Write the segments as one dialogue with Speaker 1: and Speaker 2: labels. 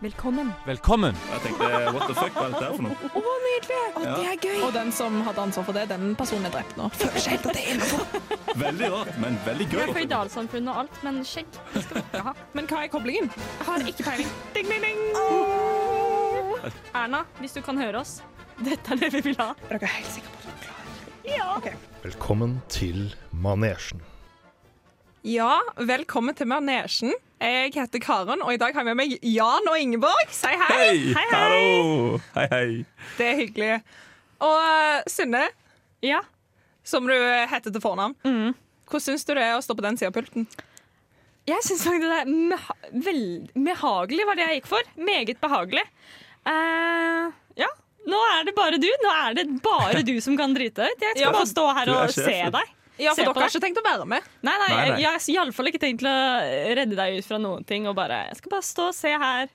Speaker 1: Velkommen.
Speaker 2: Velkommen!
Speaker 3: Jeg tenkte what the fuck, hva er dette her for noe?
Speaker 4: Å, nydelig! Det er gøy. Og den som hadde ansvar for det, den personen er drept nå. Føler seg helt at det er innenfor.
Speaker 3: Veldig rart, men veldig gøy.
Speaker 1: Vi er føydalsamfunn og alt, men skjegg det skal vi ikke ha.
Speaker 4: Men hva er koblingen?
Speaker 1: Jeg har ikke peiling. Ding, ding, ding. Erna, hvis du kan høre oss, dette er det vi vil ha.
Speaker 4: Er dere helt sikre på at dere er klare?
Speaker 5: Velkommen til manesjen.
Speaker 4: Ja, velkommen til Manesjen. Jeg heter Karen, og i dag har jeg med meg Jan og Ingeborg. Si hei!
Speaker 3: Hei!
Speaker 1: Hei, hei.
Speaker 3: Hallo! Hei, hei.
Speaker 4: Det er hyggelig. Og eh, Synne,
Speaker 1: Ja.
Speaker 4: som du heter til fornavn. Hvordan syns du det er å stå på den sida av pulten?
Speaker 1: Jeg syns faktisk det er meha vel behagelig var det jeg gikk for. Meget behagelig. Eh, ja. Nå er det bare du. Nå er det bare du som kan drite deg ut. Jeg skal
Speaker 4: Ja,
Speaker 1: bare stå her
Speaker 3: du er
Speaker 1: og
Speaker 3: sjefen.
Speaker 1: se deg.
Speaker 4: Ja,
Speaker 1: Se
Speaker 4: for
Speaker 1: på
Speaker 4: dere har
Speaker 1: deg.
Speaker 4: ikke tenkt å være med.
Speaker 1: Nei, nei,
Speaker 3: Nei,
Speaker 1: jeg,
Speaker 3: nei.
Speaker 1: jeg har iallfall ikke tenkt til å redde deg ut fra noen ting. Og bare, jeg skal bare stå og se her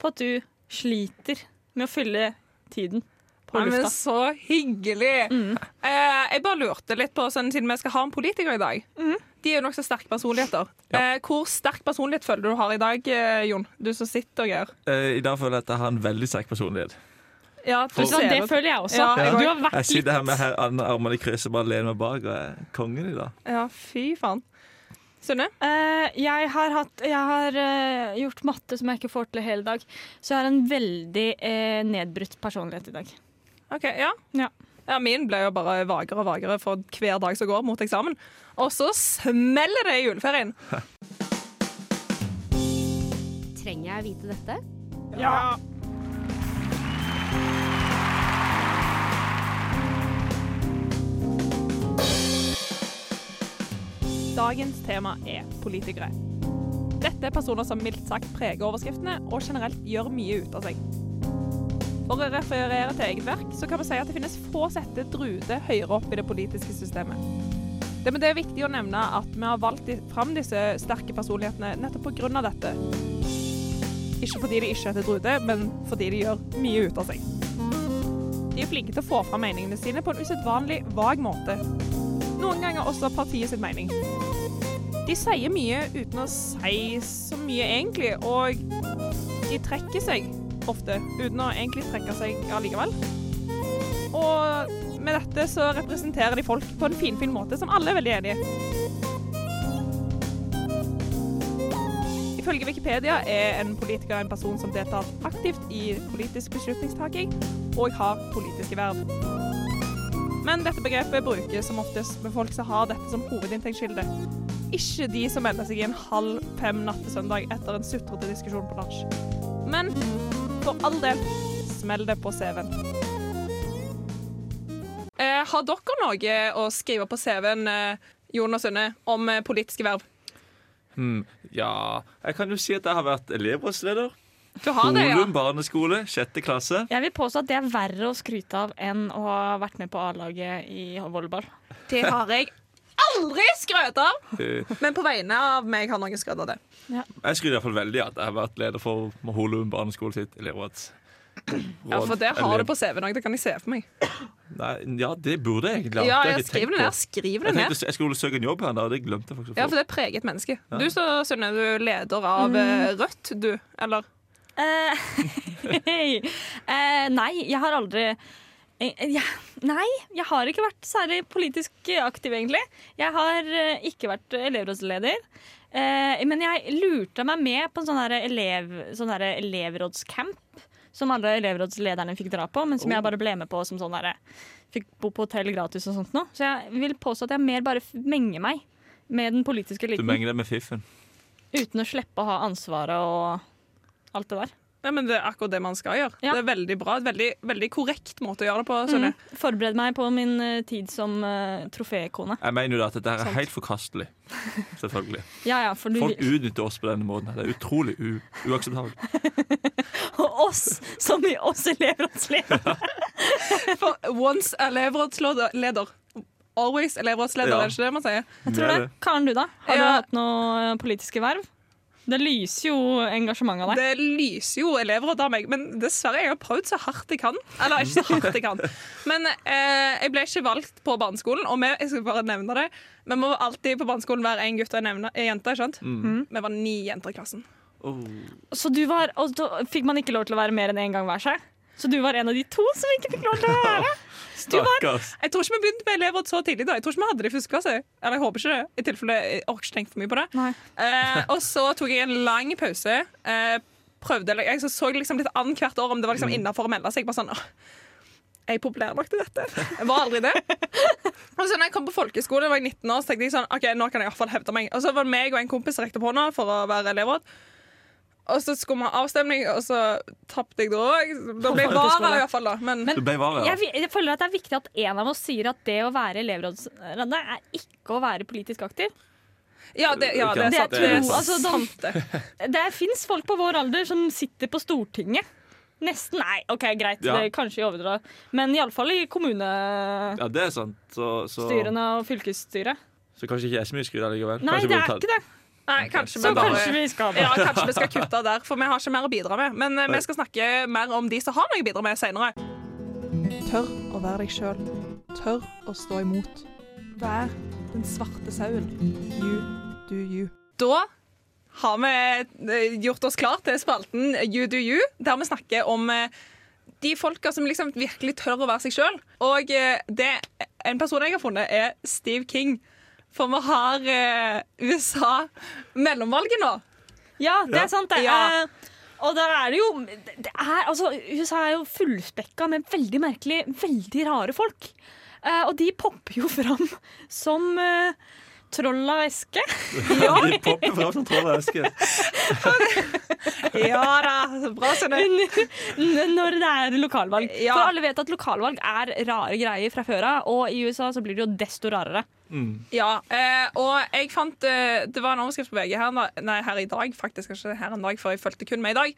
Speaker 1: på at du sliter med å fylle tiden på
Speaker 4: Nei, men
Speaker 1: lufta. Mm.
Speaker 4: så hyggelig! Eh, jeg bare lurte litt på, sånn, siden vi skal ha en politiker i dag
Speaker 1: Mm.
Speaker 4: De er jo nokså sterke personligheter. Eh, hvor sterk personlighet føler du du har i dag, eh, Jon? Du som sitter og gjør.
Speaker 3: Eh, I dag føler jeg at jeg har en veldig sterk personlighet.
Speaker 4: Ja, du
Speaker 1: Vet du hva, det føler jeg også.
Speaker 4: Ja, jeg
Speaker 1: Du
Speaker 4: går-
Speaker 1: har
Speaker 3: Jeg
Speaker 1: vært litt
Speaker 3: sitter her med her, armene i kryss og bare lener meg bak og jeg er kongen i dag.
Speaker 4: Ja, fy faen. Sunne?
Speaker 1: Eh, jeg har, hatt, jeg har eh, gjort matte som jeg ikke får til hele dag, så jeg har en veldig eh, nedbrutt personlighet i dag.
Speaker 4: OK, ja.
Speaker 1: Ja.
Speaker 4: Ja, Min ble jo bare vagere og vagere for hver dag som går mot eksamen. Og så smeller det i juleferien!
Speaker 6: Trenger jeg vite dette?
Speaker 4: Dagens tema er politikere. Dette er personer som mildt sagt preger overskriftene og generelt gjør mye ut av seg. For å referere til eget verk, så kan vi si at det finnes få sette druter høyere opp i det politiske systemet. Det, men det er viktig å nevne at vi har valgt de- fram disse sterke personlighetene nettopp pga. dette. Ikke fordi de ikke heter druter, men fordi de gjør mye ut av seg. De er flinke til å få fram meningene sine på en usedvanlig vag måte. Noen ganger også partiet sin mening. De sier mye uten å si så mye egentlig, og de trekker seg ofte uten å egentlig trekke seg allikevel. Og med dette så representerer de folk på en finfin måte som alle er veldig enige i. Ifølge Wikipedia er en politiker en person som deltar aktivt i politisk beslutningstaking og har politiske verv. Men dette begrepet brukes som oftest med folk som har dette som hovedinntektskilde. Ikke de som melder seg inn halv fem natt til søndag etter en sutrete diskusjon på nach. Men for all del, smell det på CV-en. Eh, har dere noe å skrive på CV-en, eh, Jon og Sunne, om eh, politiske verv?
Speaker 3: Hmm, ja Jeg kan jo si at jeg har vært elevrådsleder.
Speaker 4: Du har det, ja?
Speaker 3: Holum barneskole, sjette klasse.
Speaker 1: Jeg vil påstå at det er verre å skryte av enn å ha vært med på A-laget i volleyball.
Speaker 4: Det har jeg aldri skrøt av!
Speaker 3: Eh,
Speaker 4: Men på vegne av meg har noen skrøt av det.
Speaker 3: Jeg skryter iallfall veldig av at jeg har vært leder for Holum barneskole sitt elevråd.
Speaker 4: Ja, For det har du på CV-en òg, det kan jeg se for meg.
Speaker 3: Nei, ja, det burde jeg egentlig. ha.
Speaker 4: Ja,
Speaker 3: Det har
Speaker 4: jeg
Speaker 3: ikke tenkt
Speaker 4: skriver det
Speaker 3: på.
Speaker 4: ned. Skriv det
Speaker 3: Jeg
Speaker 4: ned.
Speaker 3: tenkte jeg skulle søke en jobb her, en dag, og det glemte jeg faktisk. å
Speaker 4: Ja,
Speaker 3: få.
Speaker 4: for det preger et menneske. Du så, Sunne, du er leder av eh, Rødt, du, eller?
Speaker 1: Eh, hei. Eh, nei, jeg har aldri eh, jeg, Nei, jeg har ikke vært særlig politisk aktiv, egentlig. Jeg har eh, ikke vært elevrådsleder. Eh, men jeg lurte meg med på en sånn her elev, sånn her elevrådscamp. Som alle elevrådslederne fikk dra på, men som jeg bare ble med på som sånn derre Fikk bo på hotell gratis og sånt noe. Så jeg vil påstå at jeg mer bare f- menger meg med den politiske
Speaker 3: Du
Speaker 1: eliten.
Speaker 3: menger det med fiffen.
Speaker 1: Uten å slippe å ha ansvaret og alt det der.
Speaker 4: Nei, men Det er akkurat det man skal gjøre.
Speaker 1: Ja. Mm.
Speaker 4: Det er veldig bra. Et veldig, veldig korrekt måte å gjøre det på. Sunne.
Speaker 1: Forbered meg på min eh, tid som eh, trofékone.
Speaker 3: Jeg mener jo da at dette her er
Speaker 1: Sant.
Speaker 3: helt forkastelig. Selvfølgelig.
Speaker 1: Ja, ja, for du,
Speaker 3: Folk utnytter oss på denne måten. Det er utrolig u uakseptabelt.
Speaker 1: oss som i oss elevrådsledere.
Speaker 4: For once elevrådsleder. Always elevrådsleder,
Speaker 3: Ja.
Speaker 4: er det ikke det man sier?
Speaker 1: Jeg tror det. Karen, du da? Har du
Speaker 4: Ja.
Speaker 1: hatt noe eh, politiske verv? Det lyser jo engasjementet av deg.
Speaker 4: Det lyser jo elevråd av meg, men dessverre, jeg har prøvd så hardt jeg kan. Eller ikke så hardt jeg kan. Men eh, jeg ble ikke valgt på barneskolen, og vi, jeg skal bare nevne det. Vi må alltid på barneskolen være en gutt og en, evne- en jente, ikke sant? Vi var ni jenter i klassen.
Speaker 3: Å, Oh.
Speaker 1: Så du var, og da fikk man ikke lov til å være mer enn én gang hver seg? Så du var en av de to som ikke fikk lov til å være?
Speaker 3: Stakkars.
Speaker 4: Jeg tror ikke vi begynte med elevråd så tidlig. da. Jeg tror ikke vi hadde det i første klasse. Eller jeg håper ikke det, i tilfelle jeg orker ikke tenke for mye på det.
Speaker 1: Nei.
Speaker 4: Eh, og så tok jeg en lang pause. Eh, prøvde, eller Jeg så, så liksom litt an hvert år om det var
Speaker 1: Mm.
Speaker 4: liksom innafor å melde seg. Bare sånn, «Åh, jeg er populær nok til dette. Jeg var aldri det. Og så når jeg kom på folkeskole, da var jeg 19 år, så tenkte jeg sånn OK, nå kan jeg i hvert fall hevde meg. Og så var det meg og en kompis som rekte opp hånda for å være elevråd. Og så skulle vi ha avstemning, og så tapte jeg da òg. Da ble jeg vara, i hvert fall. da. Men,
Speaker 3: Du ble vare.
Speaker 1: Jeg, jeg føler at det er viktig at en av oss sier at det å være elevrådsrande er ikke å være politisk aktiv.
Speaker 4: ja, det, ja, det er
Speaker 1: Det er
Speaker 4: sant. Det er
Speaker 1: to- altså, da-
Speaker 4: sant. det.
Speaker 1: Det fins folk på vår alder som sitter på Stortinget. Nesten. Nei, OK, greit,
Speaker 3: Ja.
Speaker 1: det kanskje jeg overdrar. Men iallfall i kommunestyrene
Speaker 3: Ja, det er sant. Så, så,
Speaker 1: og fylkesstyret.
Speaker 3: så kanskje ikke jeg er så mye skryt allikevel.
Speaker 1: Nei, det er ikke det.
Speaker 4: Nei, kanskje
Speaker 1: Så
Speaker 4: vi bare
Speaker 1: kanskje vi skal
Speaker 4: Ja, kanskje vi skal kutte der, for vi har ikke mer å bidra med. Men eh, vi skal snakke mer om de som har noe å bidra med senere. Tør å være deg sjøl. Tør å stå imot. Vær den svarte sauen. You do you. Da har vi eh, gjort oss klar til spalten You do you, der vi snakker om eh, de folka som liksom virkelig tør å være seg sjøl. Og eh, det, en person jeg har funnet, er Steve King. For vi har eh, USA mellomvalget nå.
Speaker 1: Ja, det er sant. Det.
Speaker 4: Ja.
Speaker 1: Eh, og da er det jo det er, altså, USA er jo fullspekka med veldig merkelige, veldig rare folk. Eh, og de popper jo fram som eh, troll av væske.
Speaker 3: De popper fram som troll av eske.
Speaker 4: Ja da, bra Synne.
Speaker 1: N- Når det er lokalvalg.
Speaker 4: Ja.
Speaker 1: For alle vet at lokalvalg er rare greier fra før av, og i USA så blir det jo desto rarere.
Speaker 4: Ja, eh, og jeg fant eh, Det var en overskrift på VG her, da- nei, her i dag, faktisk ikke her en dag, for jeg fulgte kun med i dag.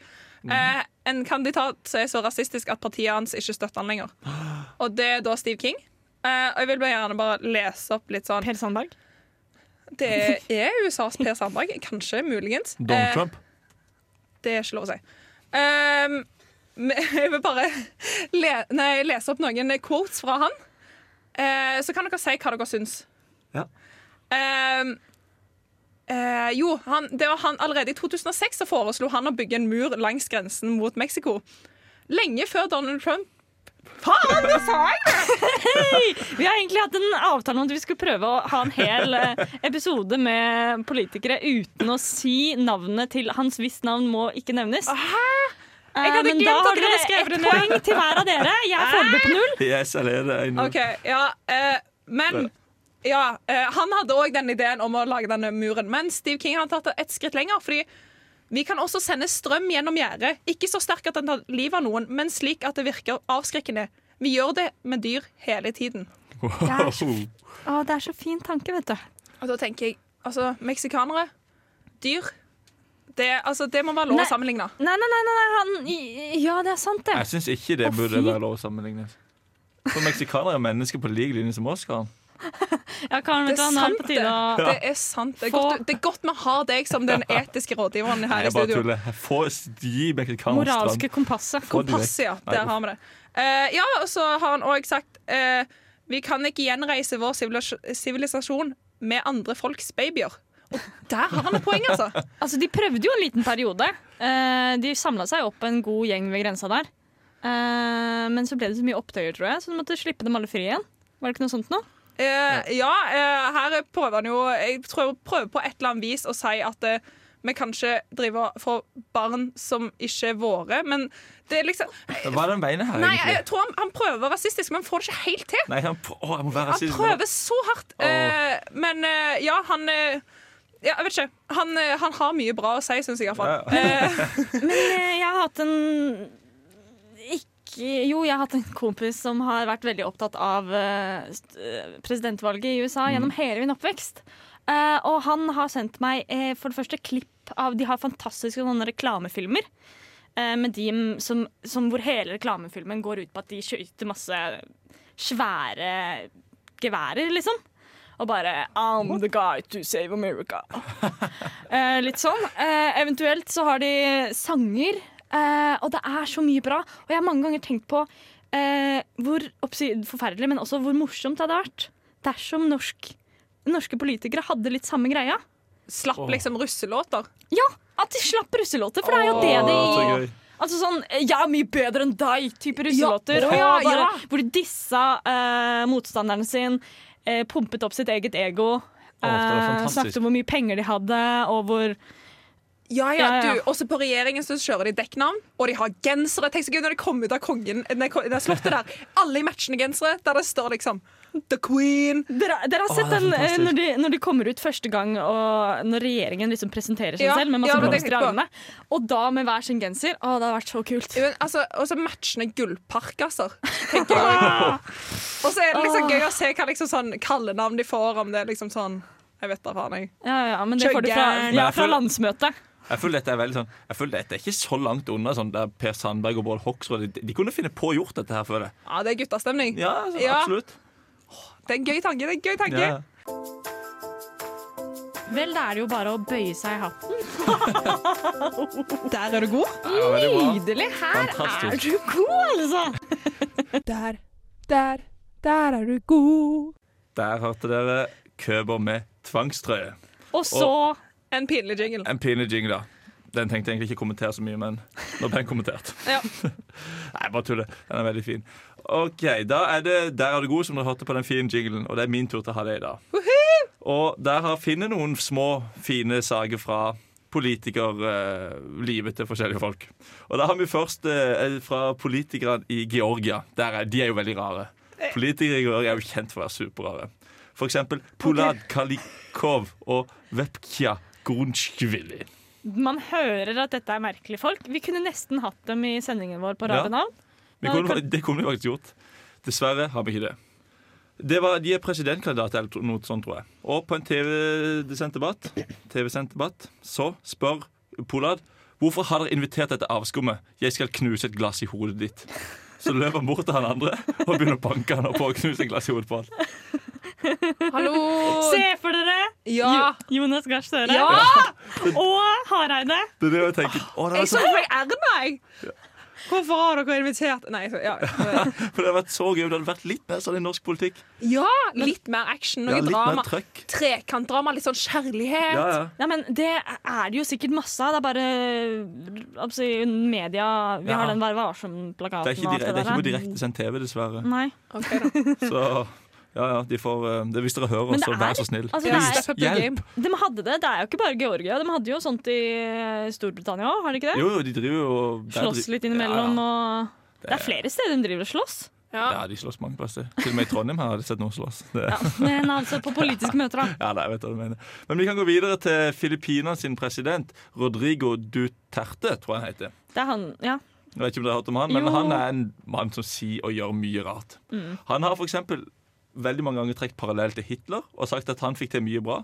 Speaker 4: Eh, en kandidat som er så rasistisk at partiet hans ikke støtter han lenger. Og det er da Steve King. Eh, og jeg vil bare gjerne bare lese opp litt sånn
Speaker 1: Per Sandberg.
Speaker 4: Det er USAs Per Sandberg, kanskje, muligens.
Speaker 3: Donald
Speaker 4: Eh,
Speaker 3: Trump.
Speaker 4: Det er ikke lov å si. Ehm, men jeg vil bare le nei, lese opp noen quotes fra han. Eh, så kan dere si hva dere syns.
Speaker 3: Ja.
Speaker 4: Ehm, eh, jo, han, det var han allerede i 2006 så foreslo han å bygge en mur langs grensen mot Mexico. Lenge før Donald Trump Faen, det sa jeg!
Speaker 1: Vi har egentlig hatt en avtale om at vi skulle prøve å ha en hel eh, episode med politikere uten å si navnet til Hans visst navn må ikke nevnes. Eh,
Speaker 4: Jeg hadde
Speaker 1: men da
Speaker 4: glemt at
Speaker 1: har
Speaker 4: jeg
Speaker 1: dere
Speaker 4: hadde skrevet det
Speaker 1: ett
Speaker 4: ned.
Speaker 1: poeng til hver av dere. Jeg er foreløpig på null.
Speaker 3: Yes, eller er det en
Speaker 4: OK, ja, eh, men ja, eh, Han hadde òg den ideen om å lage denne muren, men Steve King har tatt det et skritt lenger. fordi vi kan også sende strøm gjennom gjerdet, ikke så sterk at den tar livet av noen, men slik at det virker avskrekkende. Vi gjør det med dyr hele tiden.
Speaker 3: Wow.
Speaker 1: Å, det er så fin tanke, vet du.
Speaker 4: Og da tenker jeg, altså, meksikanere, dyr Det, altså, det må være lov
Speaker 1: Nei.
Speaker 4: å sammenligne.
Speaker 1: Nei, nei, nei, nei, nei han i- Ja, det er sant, det.
Speaker 3: Jeg syns ikke det
Speaker 1: Å,
Speaker 3: burde
Speaker 1: fy.
Speaker 3: være lov å sammenligne. For meksikanere er mennesker på lik linje som oss, Karen.
Speaker 1: Ja, Karen, vet du,
Speaker 4: Det er
Speaker 1: hva, nå er det
Speaker 4: sant,
Speaker 1: på
Speaker 4: det.
Speaker 1: tide å
Speaker 4: Det er sant. Det er
Speaker 1: Få-
Speaker 4: godt, det er godt vi har deg som den etiske rådgiveren her
Speaker 3: Jeg
Speaker 4: i
Speaker 3: bare
Speaker 4: studio.
Speaker 3: tuller. Få gi meksikanerne strøm.
Speaker 1: Moralske kompasset.
Speaker 3: Få de vekk.
Speaker 4: Pass, ja.
Speaker 3: Nei,
Speaker 4: Der
Speaker 3: uff.
Speaker 4: har vi det. Eh, ja, og så har han òg sagt eh, Vi kan ikke gjenreise vår sivilis- sivilisasjon med andre folks babyer. Og der har han et poeng, altså.
Speaker 1: Altså, de prøvde jo en liten periode. Eh, de samla seg opp en god gjeng ved grensa der. Eh, men så ble det så mye opptøyer, tror jeg, så de måtte slippe dem alle fri igjen. Var det ikke noe sånt nå?
Speaker 4: Eh, ja, eh, her prøver han jo Jeg tror prøver på et eller annet vis å si at eh, vi kan ikke drive og få barn som ikke er våre, men det er liksom
Speaker 3: Hva er det han mener her,
Speaker 4: Nei,
Speaker 3: egentlig?
Speaker 4: jeg tror han, han prøver å være rasistisk, men han får det ikke helt til.
Speaker 3: Nei, han, pr- å, jeg må være
Speaker 4: Han
Speaker 3: rasist.
Speaker 4: prøver så hardt.
Speaker 3: Åh.
Speaker 4: eh, men eh, ja, han eh, ja, Jeg vet ikke. Han, eh, han har mye bra å si, syns jeg iallfall.
Speaker 3: Ja,
Speaker 1: Men eh, jeg har hatt en ikke, Jo, jeg har hatt en kompis som har vært veldig opptatt av eh, st- eh, presidentvalget i USA gjennom hele min oppvekst. Eh, og han har sendt meg eh, for det første klipp av De har fantastiske sånne reklamefilmer. eh, med de m- som, som hvor hele reklamefilmen går ut på at de skyter masse svære geværer, liksom. Og bare I'm the guy to save America. Eh, litt sånn. Eh, eventuelt så har de sanger, eh, og det er så mye bra. Og jeg har mange ganger tenkt på eh, hvor oppsi- forferdelig, men også hvor morsomt det hadde vært dersom norsk, norske politikere hadde litt samme greia.
Speaker 4: slapp
Speaker 3: Åh.
Speaker 4: liksom russelåter.
Speaker 1: Ja, at de slapp russelåter, for det er jo det de
Speaker 3: Å, så gøy.
Speaker 1: Altså sånn 'jeg er mye bedre enn deg'-type russelåter.
Speaker 4: Ja, å,
Speaker 1: og
Speaker 4: ja,
Speaker 1: bare,
Speaker 4: ja.
Speaker 1: Hvor de dissa eh, motstanderen sin, eh, pumpet opp sitt eget ego.
Speaker 3: det var
Speaker 1: eh,
Speaker 3: fantastisk.
Speaker 1: snakket om hvor mye penger de hadde, og hvor
Speaker 4: Ja, ja,
Speaker 1: Ja, ja.
Speaker 4: du, Også på regjeringen så kjører de dekknavn, og de har gensere. Tenk så gøy når de kom ut av kongen, eh, nei, ko- det slottet der. Alle i matchende gensere, der det står liksom The Queen.
Speaker 1: Dere, dere har
Speaker 3: Å,
Speaker 1: sett
Speaker 3: det er
Speaker 1: den eh,
Speaker 3: fantastisk.
Speaker 1: når de, når de kommer ut første gang, og når regjeringen liksom presenterer seg
Speaker 4: Ja,
Speaker 1: selv med masse
Speaker 4: ja, det
Speaker 1: blomster i
Speaker 4: tenkte jeg
Speaker 1: armene. Og da med hver sin genser. Å, det har vært så kult.
Speaker 4: Jo, men, Altså, også matchende gullparkaser, tenker jeg. Og så er det liksom gøy å se hva liksom sånn kallenavn de får, om det er liksom sånn Jeg vet da faen, jeg.
Speaker 1: Ja, ja, men det får du fra, ja,
Speaker 4: Kjøggen.
Speaker 3: Men jeg
Speaker 1: fra
Speaker 3: føler-
Speaker 1: landsmøtet.
Speaker 3: Jeg føler dette er veldig sånn Jeg føler dette er ikke så langt unna sånn der Per Sandberg og Bård Hoksrud. De, de kunne finne på å gjort dette her, føler jeg.
Speaker 4: Ja, det er guttastemning.
Speaker 3: Ja, så,
Speaker 4: Ja.
Speaker 3: absolutt.
Speaker 4: Det er en gøy tanke. det er en gøy tanke.
Speaker 3: Ja.
Speaker 1: Vel, da er det jo bare å bøye seg i hatten.
Speaker 4: Der er du god.
Speaker 3: Det var veldig bra.
Speaker 1: Nydelig! Her er
Speaker 3: Fantastisk.
Speaker 1: du god, altså!
Speaker 4: Der, der, der er du god.
Speaker 3: Der hørte dere Køber med tvangstrøye.
Speaker 1: Og så
Speaker 4: En pinlig jingle.
Speaker 3: En pinlig jingle, da. Den tenkte jeg egentlig ikke å kommentere så mye, men nå ble den kommentert.
Speaker 4: Ja.
Speaker 3: Nei, bare tuller. Den er veldig fin. OK, da er det Der er det god, som dere hørte på den fine jinglen, og det er min tur til å ha det i dag. Og der har Finne noen små, fine saker fra politikerlivet til forskjellige folk. Og da har vi først eh, fra politikerne i Georgia. Der er, de er jo veldig rare. Politikere i Georgia er jo kjent for å være superrare. For eksempel Polad Kalikov og Vepkja Grunskvili.
Speaker 1: man hører at dette er merkelige folk. Vi kunne nesten hatt dem i sendingen vår på
Speaker 3: Ja.
Speaker 1: Rabenavn.
Speaker 3: Vi
Speaker 1: Ja,
Speaker 3: kunne,
Speaker 1: det
Speaker 3: det kunne vi faktisk gjort. Dessverre har vi ikke det. det var, de er presidentkandidater eller noe sånt, tror jeg. Og på en TV-sendt debatt, TV-sendt debatt så spør Polad hvorfor har dere invitert dette avskummet. Jeg skal knuse et glass i hodet ditt. Så løper han bort til han andre og begynner å banke han opp og knuse et glass i hodet på han.
Speaker 4: Hallo!
Speaker 1: Se for dere
Speaker 4: Ja!
Speaker 1: Jo- Jonas Gahr Støre
Speaker 4: Ja!
Speaker 1: og Hareide.
Speaker 3: Det er det jeg tenker. Å, det,
Speaker 4: Jeg
Speaker 3: hadde vært
Speaker 4: så for meg Erna, jeg. Hvorfor har dere invitert Nei, så, ja.
Speaker 3: så, for det hadde vært så gøy. Det hadde vært litt mer sånn i norsk politikk.
Speaker 4: ja, litt mer action, noe
Speaker 3: Ja, litt
Speaker 4: drama.
Speaker 3: mer trøkk.
Speaker 4: Trekantdrama, litt sånn kjærlighet.
Speaker 3: Ja, ja.
Speaker 1: Nei, men Det er det jo sikkert masse av. Det er bare altså, i media Vi
Speaker 3: Ja.
Speaker 1: har den Vær varsom-plakaten.
Speaker 3: Det er ikke,
Speaker 1: og alt
Speaker 3: dire, det er ikke på
Speaker 1: der.
Speaker 3: direktesendt TV, dessverre.
Speaker 1: Nei.
Speaker 4: Ok, da.
Speaker 3: Så ja, ja, de får eh, det, Hvis dere hører,
Speaker 1: Men det
Speaker 3: så
Speaker 1: er-
Speaker 3: vær så snill.
Speaker 1: altså, det
Speaker 4: Ja,
Speaker 1: er-
Speaker 4: step up your
Speaker 3: hjelp.
Speaker 4: game.
Speaker 1: De hadde det. Det er jo ikke bare Georgia. De hadde jo sånt i eh, Storbritannia òg, har de ikke det?
Speaker 3: Jo, jo, de driver jo og det er
Speaker 1: Slåss
Speaker 3: dri-
Speaker 1: litt innimellom
Speaker 3: Ja,
Speaker 1: og Det er flere steder de driver og slåss.
Speaker 3: ja. ja, de slåss mange plasser. Til og med i Trondheim har jeg sett noen slåss. Det, ja.
Speaker 1: Men altså på politiske møter, da.
Speaker 3: nei, jeg vet hva du mener. Men vi kan gå videre til Filippinene sin president, Rodrigo Duterte, tror jeg han heter.
Speaker 1: Det er han, ja.
Speaker 3: Jeg vet ikke om dere har hørt om han,
Speaker 1: Jo.
Speaker 3: men han er en mann som sier og gjør mye rart. Han har f.eks. veldig mange ganger trukket parallell til Hitler og sagt at han fikk til mye bra.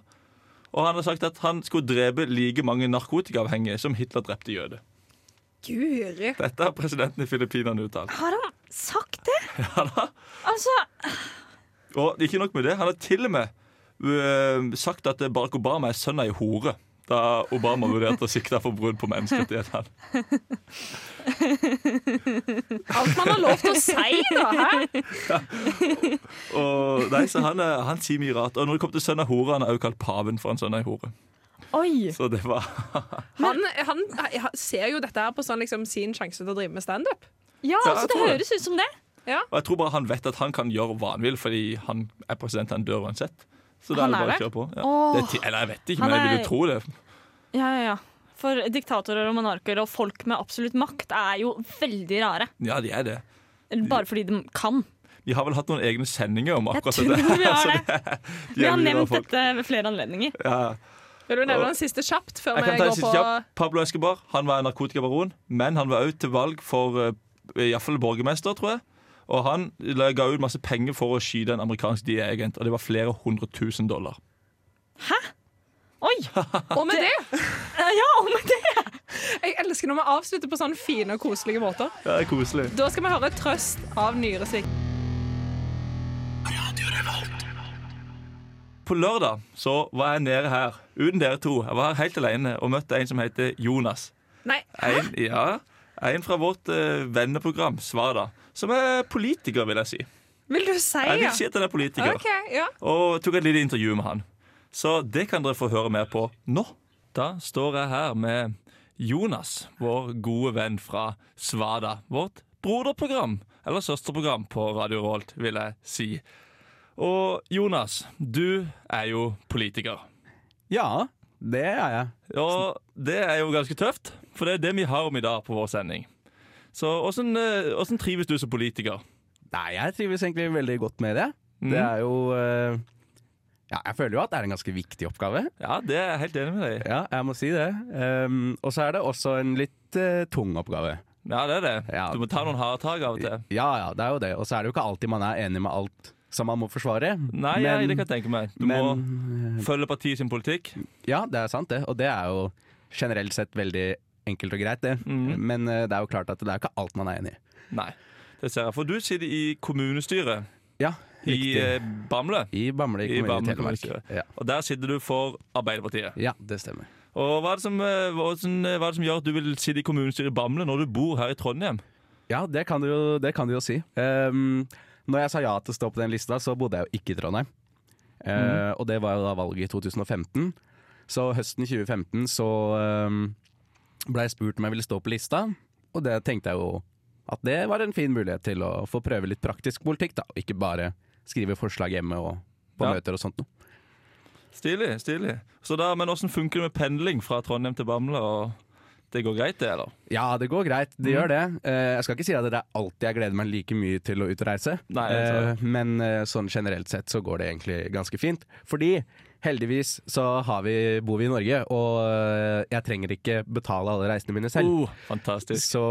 Speaker 3: Og han har sagt at han skulle drepe like mange narkotikaavhengige som Hitler drepte jøder.
Speaker 4: Guri.
Speaker 3: Dette har presidenten i Filippinene uttalt.
Speaker 1: Har han sagt det?
Speaker 3: Ja da.
Speaker 1: Altså,
Speaker 3: Og ikke nok med det, han har til og med øh, sagt at Barack Obama er sønn av ei hore. Da Obama vurderte å sikte for brudd på menneskerettighetene.
Speaker 4: Alt man har lov til å si, da. Hæ?
Speaker 3: Og nei, så han, er- han sier mye rart. Og når det kom til sønn av hore, han har også kalt paven for en sønn av ei hore.
Speaker 1: oi.
Speaker 3: Så det var
Speaker 4: Han, han, han ser jo dette her på sånn, liksom, sin sjanse til å drive med standup.
Speaker 1: Ja,
Speaker 3: Ja,
Speaker 1: altså,
Speaker 3: jeg
Speaker 1: det
Speaker 3: tror det.
Speaker 1: høres ut som det.
Speaker 3: Og jeg tror bare han vet at han kan gjøre hva han vil, fordi han er president, han dør uansett. Så da
Speaker 1: Han er
Speaker 3: er det bare å
Speaker 1: det?
Speaker 3: kjøre på. Ja.
Speaker 1: Åh.
Speaker 3: Det er ti eller jeg vet ikke,
Speaker 1: Han
Speaker 3: men jeg vil
Speaker 1: er-
Speaker 3: jo tro det.
Speaker 1: Ja, ja, ja. For diktatorer og monarker og folk med absolutt makt er jo veldig rare.
Speaker 3: Ja, de er det.
Speaker 1: Bare fordi de kan.
Speaker 3: Vi har vel hatt noen egne sendinger om
Speaker 1: Jeg
Speaker 3: akkurat
Speaker 1: tror
Speaker 3: det.
Speaker 1: vi har det.
Speaker 3: De
Speaker 1: Vi
Speaker 3: er
Speaker 1: har
Speaker 3: mye rare
Speaker 1: nevnt
Speaker 3: folk.
Speaker 1: dette ved flere anledninger.
Speaker 3: Ja.
Speaker 4: Vil du nevne den siste kjapt? Før
Speaker 3: Jeg
Speaker 4: vi
Speaker 3: kan ta en
Speaker 4: går
Speaker 3: siste
Speaker 4: på
Speaker 3: kjapp. Pablo Escobar han var en narkotikabaron, men han var også til valg for eh, i hvert fall borgermester, tror jeg. Og han la- ga ut masse penger for å skyte en amerikansk DI-agent, og det var flere hundre tusen dollar.
Speaker 1: Oi!
Speaker 4: Og med det!
Speaker 1: Eh, Ja, og med det
Speaker 4: Jeg elsker når vi avslutter på sånne fine og koselige måter.
Speaker 3: Ja, det er koselig.
Speaker 4: Da skal vi høre 'Trøst' av Nyresvik.
Speaker 3: På lørdag så var jeg nede her, uten dere to. Jeg var her helt alene og møtte en som heter Jonas.
Speaker 4: Nei,
Speaker 3: En, ja, en fra vårt eh, venneprogram, Svada, som er politiker, vil jeg si.
Speaker 4: vil du si
Speaker 3: Jeg vil
Speaker 4: ja?
Speaker 3: si at han er politiker.
Speaker 4: OK, ja.
Speaker 3: Og tok et lite intervju med han. Så det kan dere få høre mer på nå. Da står jeg her med Jonas, vår gode venn fra Svada. Vårt broderprogram, eller søsterprogram på Radio Rolt, vil jeg si. Og Jonas, du er jo politiker.
Speaker 2: Ja, det er jeg.
Speaker 3: Og det er jo ganske tøft, for det er det vi har om i dag på vår sending. Så åssen eh, åssen trives du som politiker?
Speaker 2: Nei, jeg trives egentlig veldig godt med det.
Speaker 3: Mm.
Speaker 2: Det er jo eh, Ja, jeg føler jo at det er en ganske viktig oppgave.
Speaker 3: Ja, det er jeg helt enig med deg i.
Speaker 2: Ja, jeg må si det. Ehm, og så er det også en litt eh, tung oppgave.
Speaker 3: Ja, det er det.
Speaker 2: Ja.
Speaker 3: Du må ta noen harde tak av og til.
Speaker 2: Ja ja, det er jo det. Og så er det jo ikke alltid man er enig med alt som man må forsvare.
Speaker 3: Nei, ja, det kan jeg tenke meg. Du
Speaker 2: men, eh,
Speaker 3: må følge partiet sin politikk.
Speaker 2: Ja, det er sant det. Og det er jo generelt sett veldig enkelt og greit, det.
Speaker 3: Mhm.
Speaker 2: Men eh, det er jo klart at det er ikke alt man er enig i.
Speaker 3: Nei, det ser jeg. For du sitter i kommunestyret
Speaker 2: Ja,
Speaker 3: i
Speaker 2: riktig. I,
Speaker 3: eh, Bamble.
Speaker 2: Bamble
Speaker 3: i
Speaker 2: kommune i,
Speaker 3: Bamble
Speaker 2: Telemark.
Speaker 3: kommune.
Speaker 2: Ja.
Speaker 3: Og der sitter du for Arbeiderpartiet.
Speaker 2: ja, det stemmer.
Speaker 3: Og hva er, det som, eh, hvordan, eh, hva er det som gjør at du vil sitte i kommunestyret i Bamble når du bor her i Trondheim?
Speaker 2: Ja, det kan du jo, det kan du jo si. Um, når jeg sa ja til å stå på den lista, så bodde jeg jo ikke i Trondheim. Eh, Og det var jo da valget i 2015. Så høsten 2015 så um, ble jeg spurt om jeg ville stå på lista, og det tenkte jeg jo at det var en fin mulighet til å få prøve litt praktisk politikk, da. og Ikke bare skrive forslag hjemme og på
Speaker 3: Ja.
Speaker 2: møter og sånt noe.
Speaker 3: Stilig. stilig. Så da, men åssen funker det med pendling fra Trondheim til Bamble? og Det går greit, det, eller?
Speaker 2: Ja, det går greit. Det gjør det. Eh, jeg skal ikke si at det er alltid jeg gleder meg like mye til å ut og reise,
Speaker 3: Nei, jeg tror
Speaker 2: Eh, men eh, sånn generelt sett så går det egentlig ganske fint. Fordi heldigvis så har vi, bor vi i Norge, og eh, jeg trenger ikke betale alle reisene mine selv.
Speaker 3: Oh, fantastisk.
Speaker 2: Så,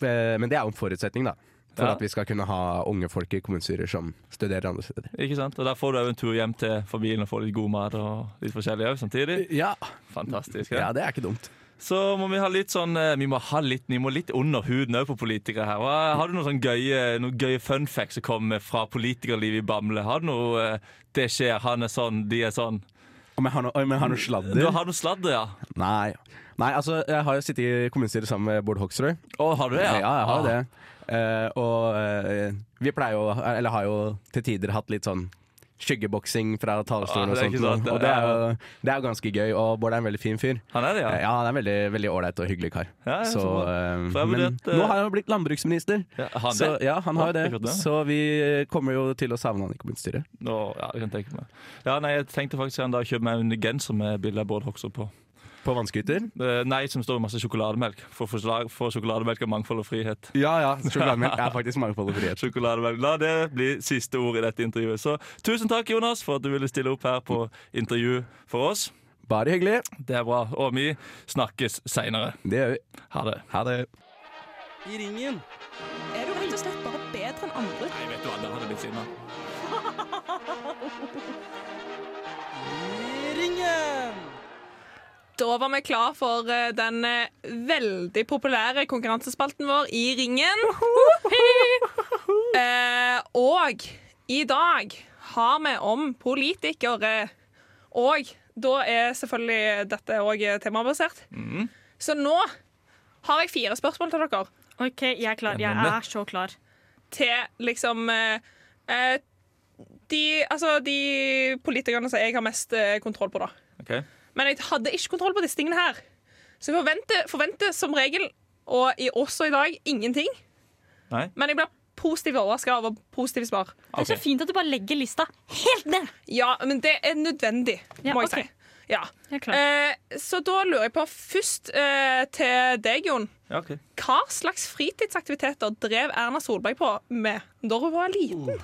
Speaker 2: eh, men det er jo en forutsetning, da. For
Speaker 3: Ja.
Speaker 2: at vi skal kunne ha unge folk i kommunestyrer som studerer andre steder.
Speaker 3: Ikke sant? Og Der får du òg en tur hjem til familien og får litt god mat og litt forskjellig òg samtidig.
Speaker 2: Ja,
Speaker 3: Fantastisk.
Speaker 2: ja
Speaker 3: Ja.
Speaker 2: det er ikke dumt.
Speaker 3: Så må vi ha litt sånn eh, Vi må ha litt, vi må litt under huden òg på politikere her. Hva, har du noen sånn gøye, noen gøye fun facts som kommer fra politikerlivet i Bamble? Har du noe eh, 'det skjer, han er sånn, de er sånn'?
Speaker 2: Om jeg har noe, om jeg har noe
Speaker 3: Du
Speaker 2: sladder?
Speaker 3: har noe sladder, ja?
Speaker 2: Nei. Nei, altså jeg har jo sittet i kommunestyret sammen med Bård Hoksrud.
Speaker 3: Å, har du det?
Speaker 2: Ja, jeg har
Speaker 3: Ah.
Speaker 2: jo det. Eh, og eh, vi pleier jo, eller har jo til tider hatt litt sånn skyggeboksing fra
Speaker 3: Ah,
Speaker 2: talerstolen og
Speaker 3: det er
Speaker 2: sånt.
Speaker 3: ikke sant, det
Speaker 2: og det er,
Speaker 3: er-
Speaker 2: jo, det er jo ganske gøy, og Bård er en veldig fin fyr.
Speaker 3: Han er det, ja?
Speaker 2: Eh, Ja, han er en veldig, veldig ålreit og hyggelig kar.
Speaker 3: Ja, ja, så
Speaker 2: så,
Speaker 3: bra.
Speaker 2: eh,
Speaker 3: For jeg
Speaker 2: men
Speaker 3: vurderte-
Speaker 2: nå har han jo blitt landbruksminister.
Speaker 3: ja han
Speaker 2: så,
Speaker 3: det?
Speaker 2: ja, han har
Speaker 3: Ja,
Speaker 2: jo det.
Speaker 3: det er godt det.
Speaker 2: Så vi kommer jo til å savne han i kommunestyret.
Speaker 3: Nå, ja, det kan jeg tenke meg. Ja, nei, jeg tenkte faktisk en dag å kjøpe meg en genser med bilde av Bård Hoksrud på.
Speaker 2: På vannskuter?
Speaker 3: Eh, Nei, som står med masse sjokolademelk. For, forslag, for sjokolademelk er mangfold og frihet.
Speaker 2: Ja ja. Sjokolademelk er faktisk mangfold og frihet.
Speaker 3: Sjokolademelk. La det bli siste ord i dette intervjuet. Så tusen takk, Jonas, for at du ville stille opp her på intervju for oss.
Speaker 2: Bare hyggelig.
Speaker 3: Det er bra. Og vi snakkes seinere.
Speaker 2: Det gjør vi.
Speaker 3: Ha det.
Speaker 2: Ha det.
Speaker 4: Er du rett og slett bare bedre enn andre?
Speaker 3: Nei, vet du hva, der hadde blitt sinna.
Speaker 4: Da var vi klar for eh, den eh, veldig populære konkurransespalten vår i ringen. Eh, og i dag har vi om politikere. Og da er selvfølgelig dette òg temabasert. Så nå har jeg fire spørsmål til dere.
Speaker 1: OK, jeg er klar. Jeg
Speaker 3: Spennende.
Speaker 1: er så klar.
Speaker 4: Til liksom eh, eh, de, altså, de politikerne som jeg har mest eh, kontroll på, da.
Speaker 3: Ok?
Speaker 4: Men jeg hadde ikke kontroll på disse tingene her. Så jeg forventer, forventer som regel, og i, også i dag, ingenting.
Speaker 3: Nei?
Speaker 4: Men jeg blir positivt overraska over positive svar.
Speaker 1: Det er så
Speaker 3: Ok.
Speaker 1: fint at du bare legger lista helt ned.
Speaker 4: Ja, men det er nødvendig,
Speaker 1: Ja,
Speaker 4: må jeg
Speaker 1: ok.
Speaker 4: si. Ja.
Speaker 1: Jeg er klar.
Speaker 4: Eh, så da lurer jeg på først eh, til deg, Jon.
Speaker 3: Ja, ok.
Speaker 4: Hva slags fritidsaktiviteter drev Erna Solberg på med da hun var liten?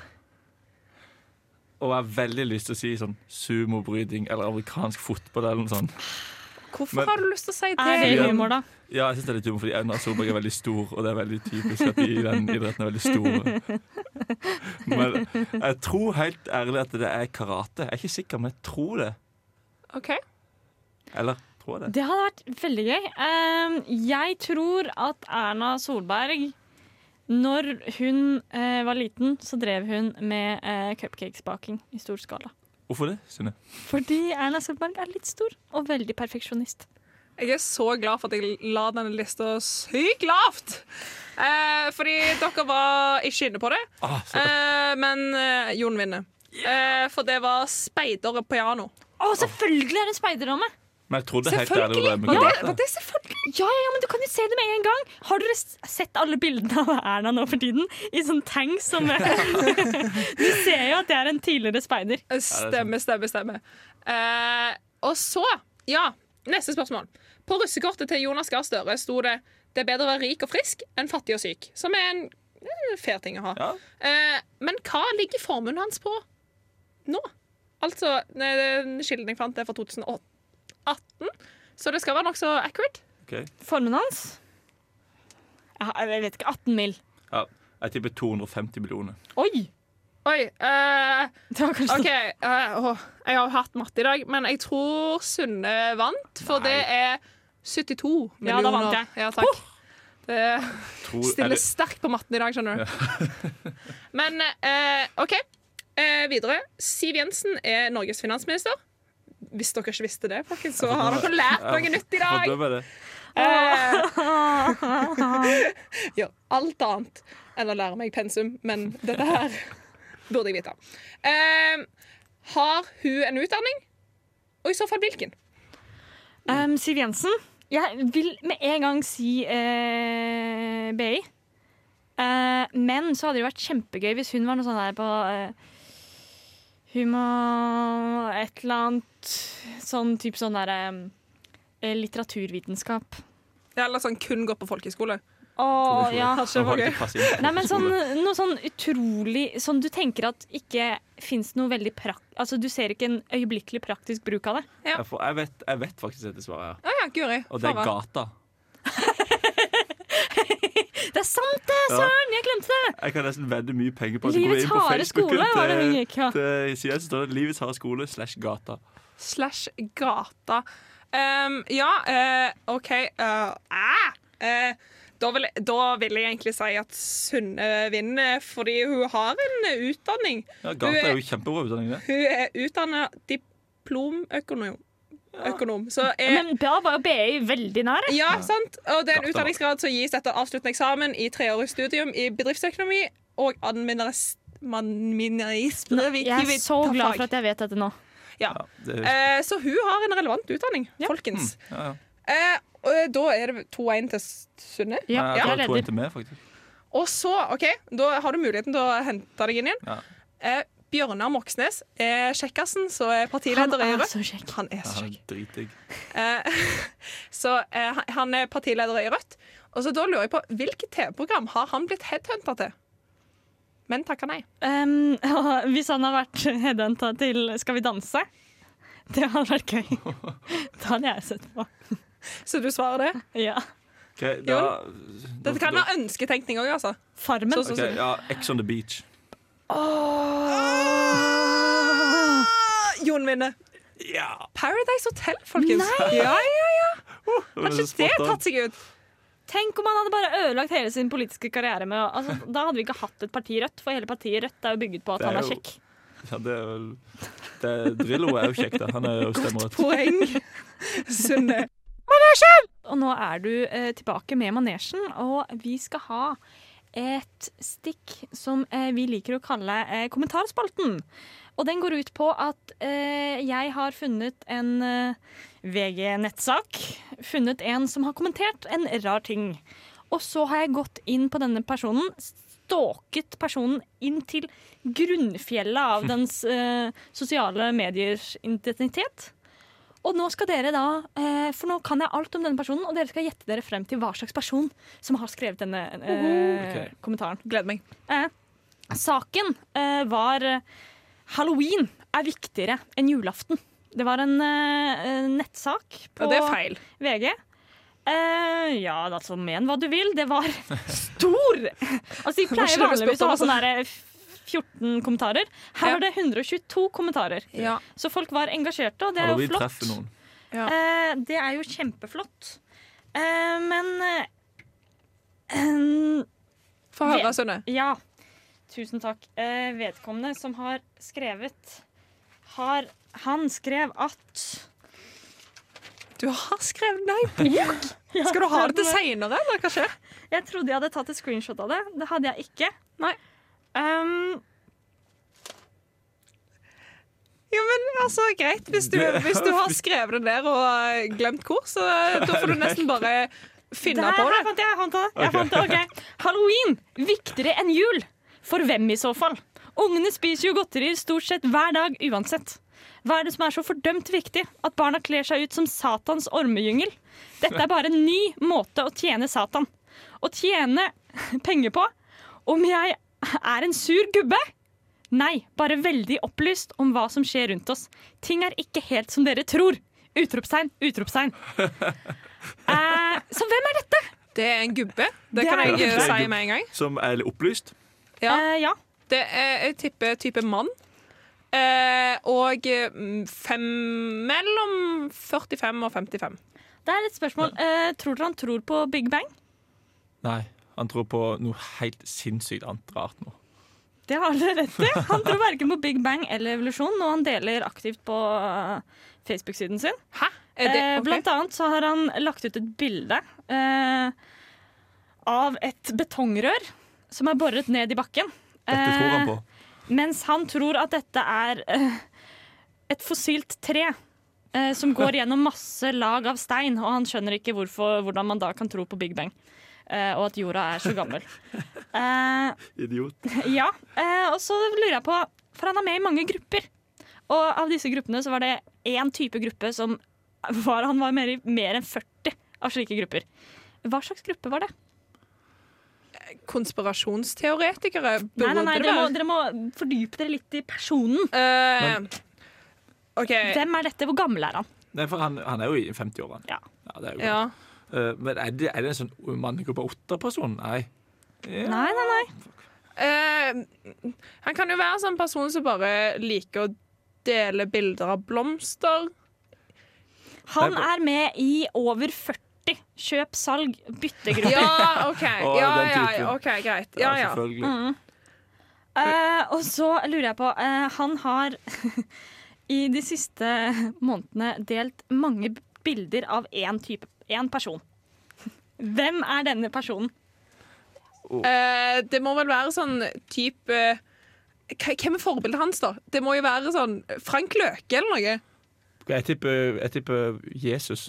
Speaker 3: Og jeg har veldig lyst til å si sånn sumobryting eller amerikansk fotball eller noe sånt.
Speaker 4: Hvorfor
Speaker 3: Men-
Speaker 4: har du lyst til å si
Speaker 1: Er det
Speaker 4: det?
Speaker 3: Jon?
Speaker 1: humor, da?
Speaker 3: Ja, jeg synes det er litt humor, fordi Erna Solberg er veldig stor, og det er veldig typisk at de i den idretten er veldig store. Men jeg tror helt ærlig at det er karate. Jeg er ikke sikker, men jeg tror det.
Speaker 4: Ok.
Speaker 3: Eller tror jeg det.
Speaker 1: Det hadde vært veldig gøy. Ehm, jeg tror at Erna Solberg når hun eh, var liten, så drev hun med eh, cupcakesbaking i stor skala.
Speaker 3: Hvorfor det, Synne?
Speaker 1: Fordi Erna Solberg er litt stor og veldig perfeksjonist.
Speaker 4: Jeg er så glad for at jeg la denne lista sykt lavt. Eh, fordi dere var ikke inne på det.
Speaker 3: Ah, så-
Speaker 4: Eh, men eh, Jon vinner. Eh, for det var speider og piano.
Speaker 1: Å, selvfølgelig er det en speiderdame!
Speaker 3: Men jeg trodde helt ærlig
Speaker 1: Selvfølgelig!
Speaker 3: det med
Speaker 1: Ja,
Speaker 3: Gaddafi.
Speaker 1: det er selvfølgelig. Ja, ja, ja, men du kan jo se det med en gang! Har dere s- sett alle bildene av Erna nå for tiden? I sånn tanks som Du ser jo at det er en tidligere speider.
Speaker 4: Eh, Stemme, stemme, stemme. Eh, og så, ja, neste spørsmål. På russekortet til Jonas Gahr Støre sto det 'Det er bedre å være rik og frisk enn fattig og syk', som er en eh, fair ting å ha.
Speaker 3: Ja.
Speaker 4: Eh, men hva ligger formuen hans på nå? Altså, ne- den kilden jeg fant, er fra 2018, så det skal være nokså accurate.
Speaker 3: ok.
Speaker 1: Formen hans? Jeg har- jeg vet ikke. 18 mil.
Speaker 3: Ja, jeg tipper 250 millioner.
Speaker 1: Oi!
Speaker 4: Oi. eh,
Speaker 1: Det var kanskje sånn-
Speaker 4: OK. eh, åh, jeg har hatt matte i dag, men jeg tror Sunne vant, for det er 72
Speaker 1: Ja,
Speaker 4: millioner.
Speaker 1: da vant jeg.
Speaker 4: Ja, takk. Det
Speaker 3: Tror,
Speaker 4: Stiller sterkt på matten i dag, skjønner du. Men eh, OK. Eh, videre. Siv Jensen er Norges finansminister. Hvis dere ikke visste det, folkens, så har dere lært noe nytt i dag.
Speaker 3: Fordømmer det.
Speaker 4: Eh, ja, alt annet enn å lære meg pensum, men dette her burde jeg vite. Eh, har hun en utdanning? Og i så fall hvilken?
Speaker 1: Um, Siv Jensen. Jeg vil med en gang si eh, BI. Eh, men så hadde det vært kjempegøy hvis hun var noe sånn her på eh, Hun må et eller annet sånn type sånn derre eh, litteraturvitenskap.
Speaker 4: Eller sånn kun gå på folkehøyskole.
Speaker 1: Å, ja.
Speaker 3: Han har ikke pass inn.
Speaker 1: Nei, men sånn, noe sånn utrolig Sånn du tenker at ikke fins noe veldig prak... Altså, du ser ikke en øyeblikkelig praktisk bruk av det.
Speaker 3: Jeg, får, jeg, vet, jeg vet faktisk dette svaret her.
Speaker 4: Å Ah, ja, Guri.
Speaker 3: Og det er
Speaker 4: Farah.
Speaker 3: gata.
Speaker 1: Det er sant, det!
Speaker 3: Ja.
Speaker 1: Søren! Jeg glemte det!
Speaker 3: Jeg kan nesten vedde mye penger på at du går
Speaker 1: Livets
Speaker 3: inn på
Speaker 1: harde skole,
Speaker 3: Facebooken
Speaker 1: var det hun
Speaker 3: til,
Speaker 1: gikk, ja.
Speaker 3: til siden, så står det 'Livets harde skole' slash gata.
Speaker 4: slash gata. Ehm, ja, eh, OK eh, ah, eh, da, vil, da vil jeg egentlig si at Sunne vinner, fordi hun har en utdanning.
Speaker 3: Ja, gata er jo kjempebra utdanning, det.
Speaker 4: Hun er utdanna diplomøkonom. Økonom, så er,
Speaker 1: Men da var jo BI veldig nær.
Speaker 4: ja, sant? Og det er en
Speaker 3: Gata.
Speaker 4: utdanningsgrad som gis etter avsluttende eksamen i treårig studium i bedriftsøkonomi og administrasjon.
Speaker 1: Jeg er så glad for at jeg vet dette nå.
Speaker 4: ja.
Speaker 3: Ja, det er,
Speaker 4: Eh, Så hun har en relevant utdanning, folkens.
Speaker 3: ja, Mm. ja.
Speaker 4: Eh, og da er det 2-1 til Sunne.
Speaker 1: Ja,
Speaker 3: Nei,
Speaker 1: jeg
Speaker 3: jeg tror jeg
Speaker 1: leder.
Speaker 3: til meg, faktisk.
Speaker 4: Og så, OK, da har du muligheten til å hente deg inn igjen.
Speaker 3: Ja.
Speaker 4: Eh, Bjørnar Moxnes er kjekkasen som er
Speaker 1: Han
Speaker 4: partileder i
Speaker 1: er
Speaker 4: Rødt.
Speaker 1: så kjekk.
Speaker 4: Han er
Speaker 3: Ja,
Speaker 4: så
Speaker 3: han
Speaker 4: kjekk.
Speaker 3: er dritdigg.
Speaker 4: Eh, så eh, han- han er partileder i Rødt. Og så da lurer jeg på hvilket TV-program har han blitt headhunta til? Men takka nei.
Speaker 1: Um, og hvis han har vært headhunta til Skal vi danse, det hadde vært gøy. Det hadde jeg sett på.
Speaker 4: Så du svarer det?
Speaker 1: Ja.
Speaker 3: Ok, da,
Speaker 4: Dette kan være ønsketenkning òg, altså.
Speaker 1: Farmen.
Speaker 4: Så, så,
Speaker 3: Ok, ja, Ex on the beach.
Speaker 4: Åh! Ah! Jon vinner.
Speaker 3: Ja!
Speaker 4: Paradise Hotel, folkens. Ja, ja, ja. Kanskje det har tatt seg ut.
Speaker 1: Tenk om han hadde bare ødelagt hele sin politiske karriere med å- altså, Da hadde vi ikke hatt et parti Rødt, for hele partiet Rødt er jo bygget på at
Speaker 3: Det er
Speaker 1: han er
Speaker 3: jo-
Speaker 1: kjekk.
Speaker 3: Ja, det er vel det, Drillo er jo kjekk, da. Han er jo stemmerett.
Speaker 4: poeng. Sunne.
Speaker 1: Og nå er du eh, tilbake med manesjen, og vi skal ha et stikk som eh, vi liker å kalle eh, kommentarspalten. Og den går ut på at eh, jeg har funnet en eh, VG-nettsak. Funnet en som har kommentert en rar ting. Og så har jeg gått inn på denne personen, stalket personen inn til grunnfjellet av dens eh, sosiale mediers identitet. Og nå skal dere da, eh, for nå kan jeg alt om denne personen, og dere skal gjette dere frem til hva slags person som har skrevet denne eh,
Speaker 3: Ok.
Speaker 1: kommentaren.
Speaker 4: Gleder meg.
Speaker 1: Eh, saken eh, var eh, Halloween er viktigere enn julaften. Det var en eh, eh, nettsak på
Speaker 4: Og det er feil.
Speaker 1: VG. Eh, ja, altså, men hva du vil. Det var stor! Altså, De
Speaker 4: Må
Speaker 1: pleier
Speaker 4: ikke dere
Speaker 1: vanligvis å ha
Speaker 4: spytte, altså.
Speaker 1: sånne her, eh, 14 kommentarer. Her
Speaker 4: Ja.
Speaker 1: var det 122 kommentarer.
Speaker 4: Ja.
Speaker 1: Så folk var engasjerte, og det er jo
Speaker 3: Halloween
Speaker 1: flott.
Speaker 3: treffer noen.
Speaker 1: Eh, det er jo kjempeflott. Eh, men eh, eh,
Speaker 4: Få høre, Sunne.
Speaker 1: ja. Tusen takk. Eh, vedkommende som har skrevet har Han skrev at
Speaker 4: Du har skrevet nei bok! Skal du ha det til seinere, eller hva skjer?
Speaker 1: Jeg trodde jeg hadde tatt et screenshot av det. Det hadde Um, jeg ikke.
Speaker 4: Nei.
Speaker 1: Um,
Speaker 4: Jo, men altså, greit. Hvis du,
Speaker 3: Det-
Speaker 4: hvis du har skrevet det ned og eh, glemt hvor, så eh, da får du nesten bare finne
Speaker 1: Der,
Speaker 4: på
Speaker 1: her
Speaker 4: det.
Speaker 1: fant jeg, jeg fant det. Jeg fant det, ok. Halloween viktigere enn jul. For hvem i så fall? Ungene spiser jo godterier stort sett hver dag uansett. Hva er det som er så fordømt viktig? At barna kler seg ut som Satans ormegyngel? Dette er bare en ny måte å tjene Satan. Å tjene penger på om jeg er en sur gubbe? Nei, bare veldig opplyst om hva som skjer rundt oss. Ting er ikke helt som dere tror. Utropstegn, utropstegn. Eh, så hvem er dette?
Speaker 4: Det er en gubbe. Det,
Speaker 1: Det
Speaker 4: kan
Speaker 1: er en
Speaker 4: jeg eh,
Speaker 3: gubbe. Det er
Speaker 4: si
Speaker 3: en
Speaker 4: med en gang.
Speaker 3: Som er opplyst.
Speaker 4: Ja.
Speaker 1: Eh, ja.
Speaker 4: Det er jeg tipper type mann. Eh, og eh, fem Mellom 45 og 55.
Speaker 1: Det er et spørsmål. Eh, tror dere han tror på Big Bang?
Speaker 3: Nei. Han tror på noe helt sinnssykt annet rart nå.
Speaker 1: Det har dere rett i. Han tror verken på Big Bang eller evolusjon, og han deler aktivt på eh, Facebook-siden sin.
Speaker 4: Hæ? Er det,
Speaker 1: Eh,
Speaker 4: ok.
Speaker 1: Blant annet så har han lagt ut et bilde eh, av et betongrør som er boret ned i bakken.
Speaker 3: Dette
Speaker 1: Eh.
Speaker 3: tror han på.
Speaker 1: Mens han tror at dette er eh, et fossilt tre eh, som går gjennom masse lag av stein, og han skjønner ikke hvorfor, hvordan man da kan tro på Big Bang. eh, og at jorda er så gammel. Eh,
Speaker 3: Idiot.
Speaker 1: ja, eh, og så lurer jeg på For han er med i mange grupper. Og av disse gruppene så var det én type gruppe som var, Han var med i mer enn 40 av slike grupper. Hva slags gruppe var det?
Speaker 4: Konspirasjonsteoretikere
Speaker 1: Nei,
Speaker 4: burde
Speaker 1: nei, nei,
Speaker 4: det
Speaker 1: dere må,
Speaker 4: være.
Speaker 1: dere må fordype dere litt i personen.
Speaker 4: Eh, OK.
Speaker 1: Hvem er dette? Hvor gammel er han?
Speaker 3: Nei, for han, han er jo i 50-årene.
Speaker 1: Ja.
Speaker 3: det er jo
Speaker 4: Ja.
Speaker 3: Eh, Men er det, er det en sånn mannegruppe åtte-person? Nei. Ja.
Speaker 1: Nei, nei, nei.
Speaker 4: Eh, han kan jo være en sånn person som bare liker å dele bilder av blomster.
Speaker 1: Han
Speaker 3: Nei,
Speaker 1: er med i over 40 kjøp-salg byttegrupper.
Speaker 4: Ja, OK.
Speaker 3: Å,
Speaker 4: Ja,
Speaker 3: den
Speaker 4: ja,
Speaker 3: typen.
Speaker 4: ok, greit.
Speaker 3: Ja,
Speaker 4: Ja, ja. Mm-hmm.
Speaker 3: selvfølgelig.
Speaker 1: Eh, og så lurer jeg på eh, Han har i de siste månedene delt mange b- bilder av én type én person. Hvem er denne personen?
Speaker 4: Eh, det må vel være sånn type eh, hva- Hvem er forbildet hans, da? Det må jo være sånn Frank Løke eller noe.
Speaker 3: Jeg tipper, jeg tipper Jesus.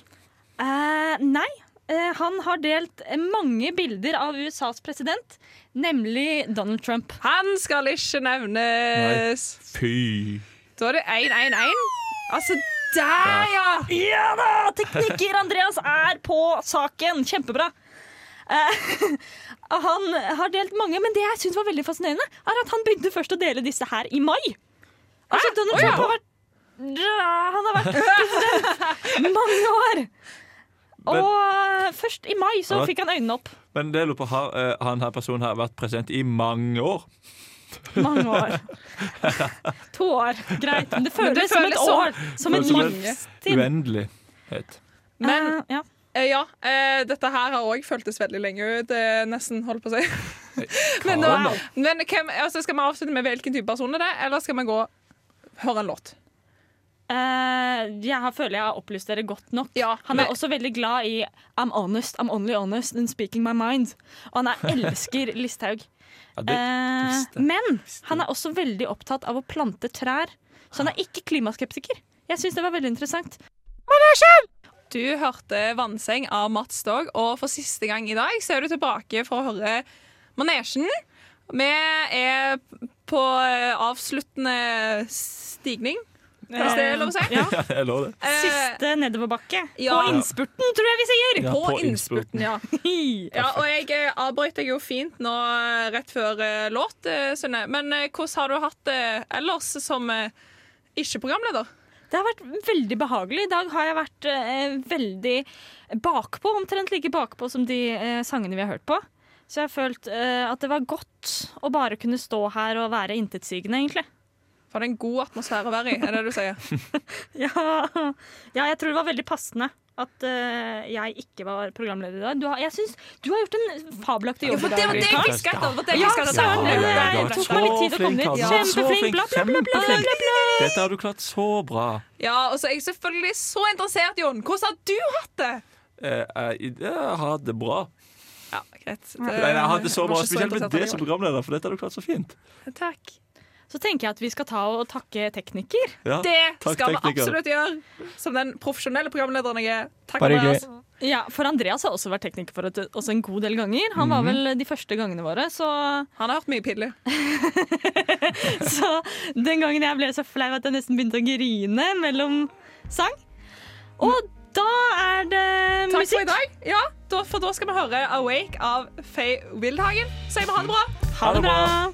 Speaker 1: Eh, nei. eh, han har delt mange bilder av USAs president, nemlig Donald Trump.
Speaker 4: Han skal ikke nevnes.
Speaker 3: Fy.
Speaker 4: Da er det 1-1-1. Altså, der, ja!
Speaker 1: Ja da! Teknikker Andreas er på saken. Kjempebra. Eh, han har delt mange, men det jeg syns var veldig fascinerende, er at han begynte først å dele disse her i mai. Altså, Donald Trump har vært Ja, Han har vært president mange år.
Speaker 3: Men-
Speaker 1: Og eh, først i mai så
Speaker 3: Han har-
Speaker 1: fikk han øynene opp.
Speaker 3: Men det jeg lurer på, har eh, han her personen her vært president i mange år?
Speaker 1: Mange år. To år, greit. Men det føles,
Speaker 4: det
Speaker 1: som et
Speaker 4: føles som-
Speaker 1: år. Som en
Speaker 3: Føles som en
Speaker 1: livstid.
Speaker 3: Uendelighet.
Speaker 4: Men
Speaker 1: Eh, ja.
Speaker 4: Eh, ja, eh, dette her har òg føltes veldig lenge ut. eh, nesten, holdt på å si. men
Speaker 3: Karen,
Speaker 4: nå- men hvem, altså, skal vi avslutte med hvilken type person det er, eller skal vi gå høre en låt?
Speaker 1: Eh, jeg har, føler jeg har opplyst dere godt nok.
Speaker 4: Ja,
Speaker 1: han er
Speaker 4: men-
Speaker 1: også veldig glad i I'm honest, I'm only honest and speaking my mind. Og han er, elsker Listhaug.
Speaker 3: Ja, det,
Speaker 1: Eh,
Speaker 3: visste jeg.
Speaker 1: men han er også veldig opptatt av å plante trær, så han er ikke klimaskeptiker. Jeg syns det var veldig interessant.
Speaker 4: Du hørte 'Vannseng' av Mats Dog, og for siste gang i dag så er du tilbake for å høre Manesjen. Vi er på eh, avsluttende stigning, hvis det er lov å si.
Speaker 3: jeg lover det.
Speaker 4: Eh,
Speaker 1: Siste nedoverbakke.
Speaker 4: Ja.
Speaker 1: På innspurten, tror jeg vi sier!
Speaker 3: Ja,
Speaker 4: på,
Speaker 3: på innspurten.
Speaker 4: innspurten, ja. Ja, og jeg eh, avbryter jo fint nå eh, rett før eh, låt, eh, Synne. Men eh, hvordan har du hatt det ellers som eh, ikke-programleder?
Speaker 1: Det har vært veldig behagelig. I dag har jeg vært eh, veldig bakpå, omtrent like bakpå som de eh, sangene vi har hørt på. Så jeg har følt eh, at det var godt å bare kunne stå her og være intetsigende, egentlig.
Speaker 4: Var det en god atmosfære å være i, er det du sier?
Speaker 1: Ja, ja jeg tror det var veldig passende at eh, jeg ikke var programleder i dag. Du har, jeg synes, du har gjort en fabelaktig jobb. i dag, Erika.
Speaker 3: jeg
Speaker 4: fisket etter. Det var det
Speaker 1: Ja,
Speaker 4: fisket etter.
Speaker 1: søren,
Speaker 3: Ja,
Speaker 1: det,
Speaker 3: ja, ja.
Speaker 1: det tok meg litt tid å komme
Speaker 3: Så
Speaker 1: dit.
Speaker 3: flink, altså. Så flink,
Speaker 1: Kjempeflink, bla, bla, bla, bla,
Speaker 3: kjempeflink.
Speaker 1: bla, bla.
Speaker 3: Dette har du klart så bra.
Speaker 4: Ja, og så er jeg selvfølgelig så interessert, Jon. Hvordan har du hatt det?
Speaker 3: Eh, eh, jeg har hatt det bra.
Speaker 4: Ja, greit.
Speaker 3: Nei, jeg har hatt det så
Speaker 4: Eh, var
Speaker 3: bra,
Speaker 4: ikke så
Speaker 3: spesielt med
Speaker 4: interessert i
Speaker 3: det
Speaker 4: det,
Speaker 3: som programleder, for dette har du klart så fint.
Speaker 4: Jon. Takk.
Speaker 1: så tenker jeg at vi skal ta og takke tekniker.
Speaker 3: Ja.
Speaker 4: Det
Speaker 3: Takk,
Speaker 4: skal vi
Speaker 3: tekniker.
Speaker 4: absolutt gjøre, som den profesjonelle programlederen jeg er. Takk, altså.
Speaker 2: Bare
Speaker 4: Andreas.
Speaker 1: Ja, For Andreas har også vært tekniker for et- oss en god del ganger. Han
Speaker 7: Mhm.
Speaker 1: var vel de første gangene våre, så,
Speaker 4: Han har hørt mye piller.
Speaker 1: så den gangen jeg ble så flau at jeg nesten begynte å grine mellom sang. Og
Speaker 7: Mm.
Speaker 1: da er det
Speaker 4: Takk for
Speaker 1: musikk.
Speaker 4: i dag. Ja, da, for da skal vi høre 'Awake' av Faye Wildhagen. Sier vi ha det bra.
Speaker 1: Ha det bra.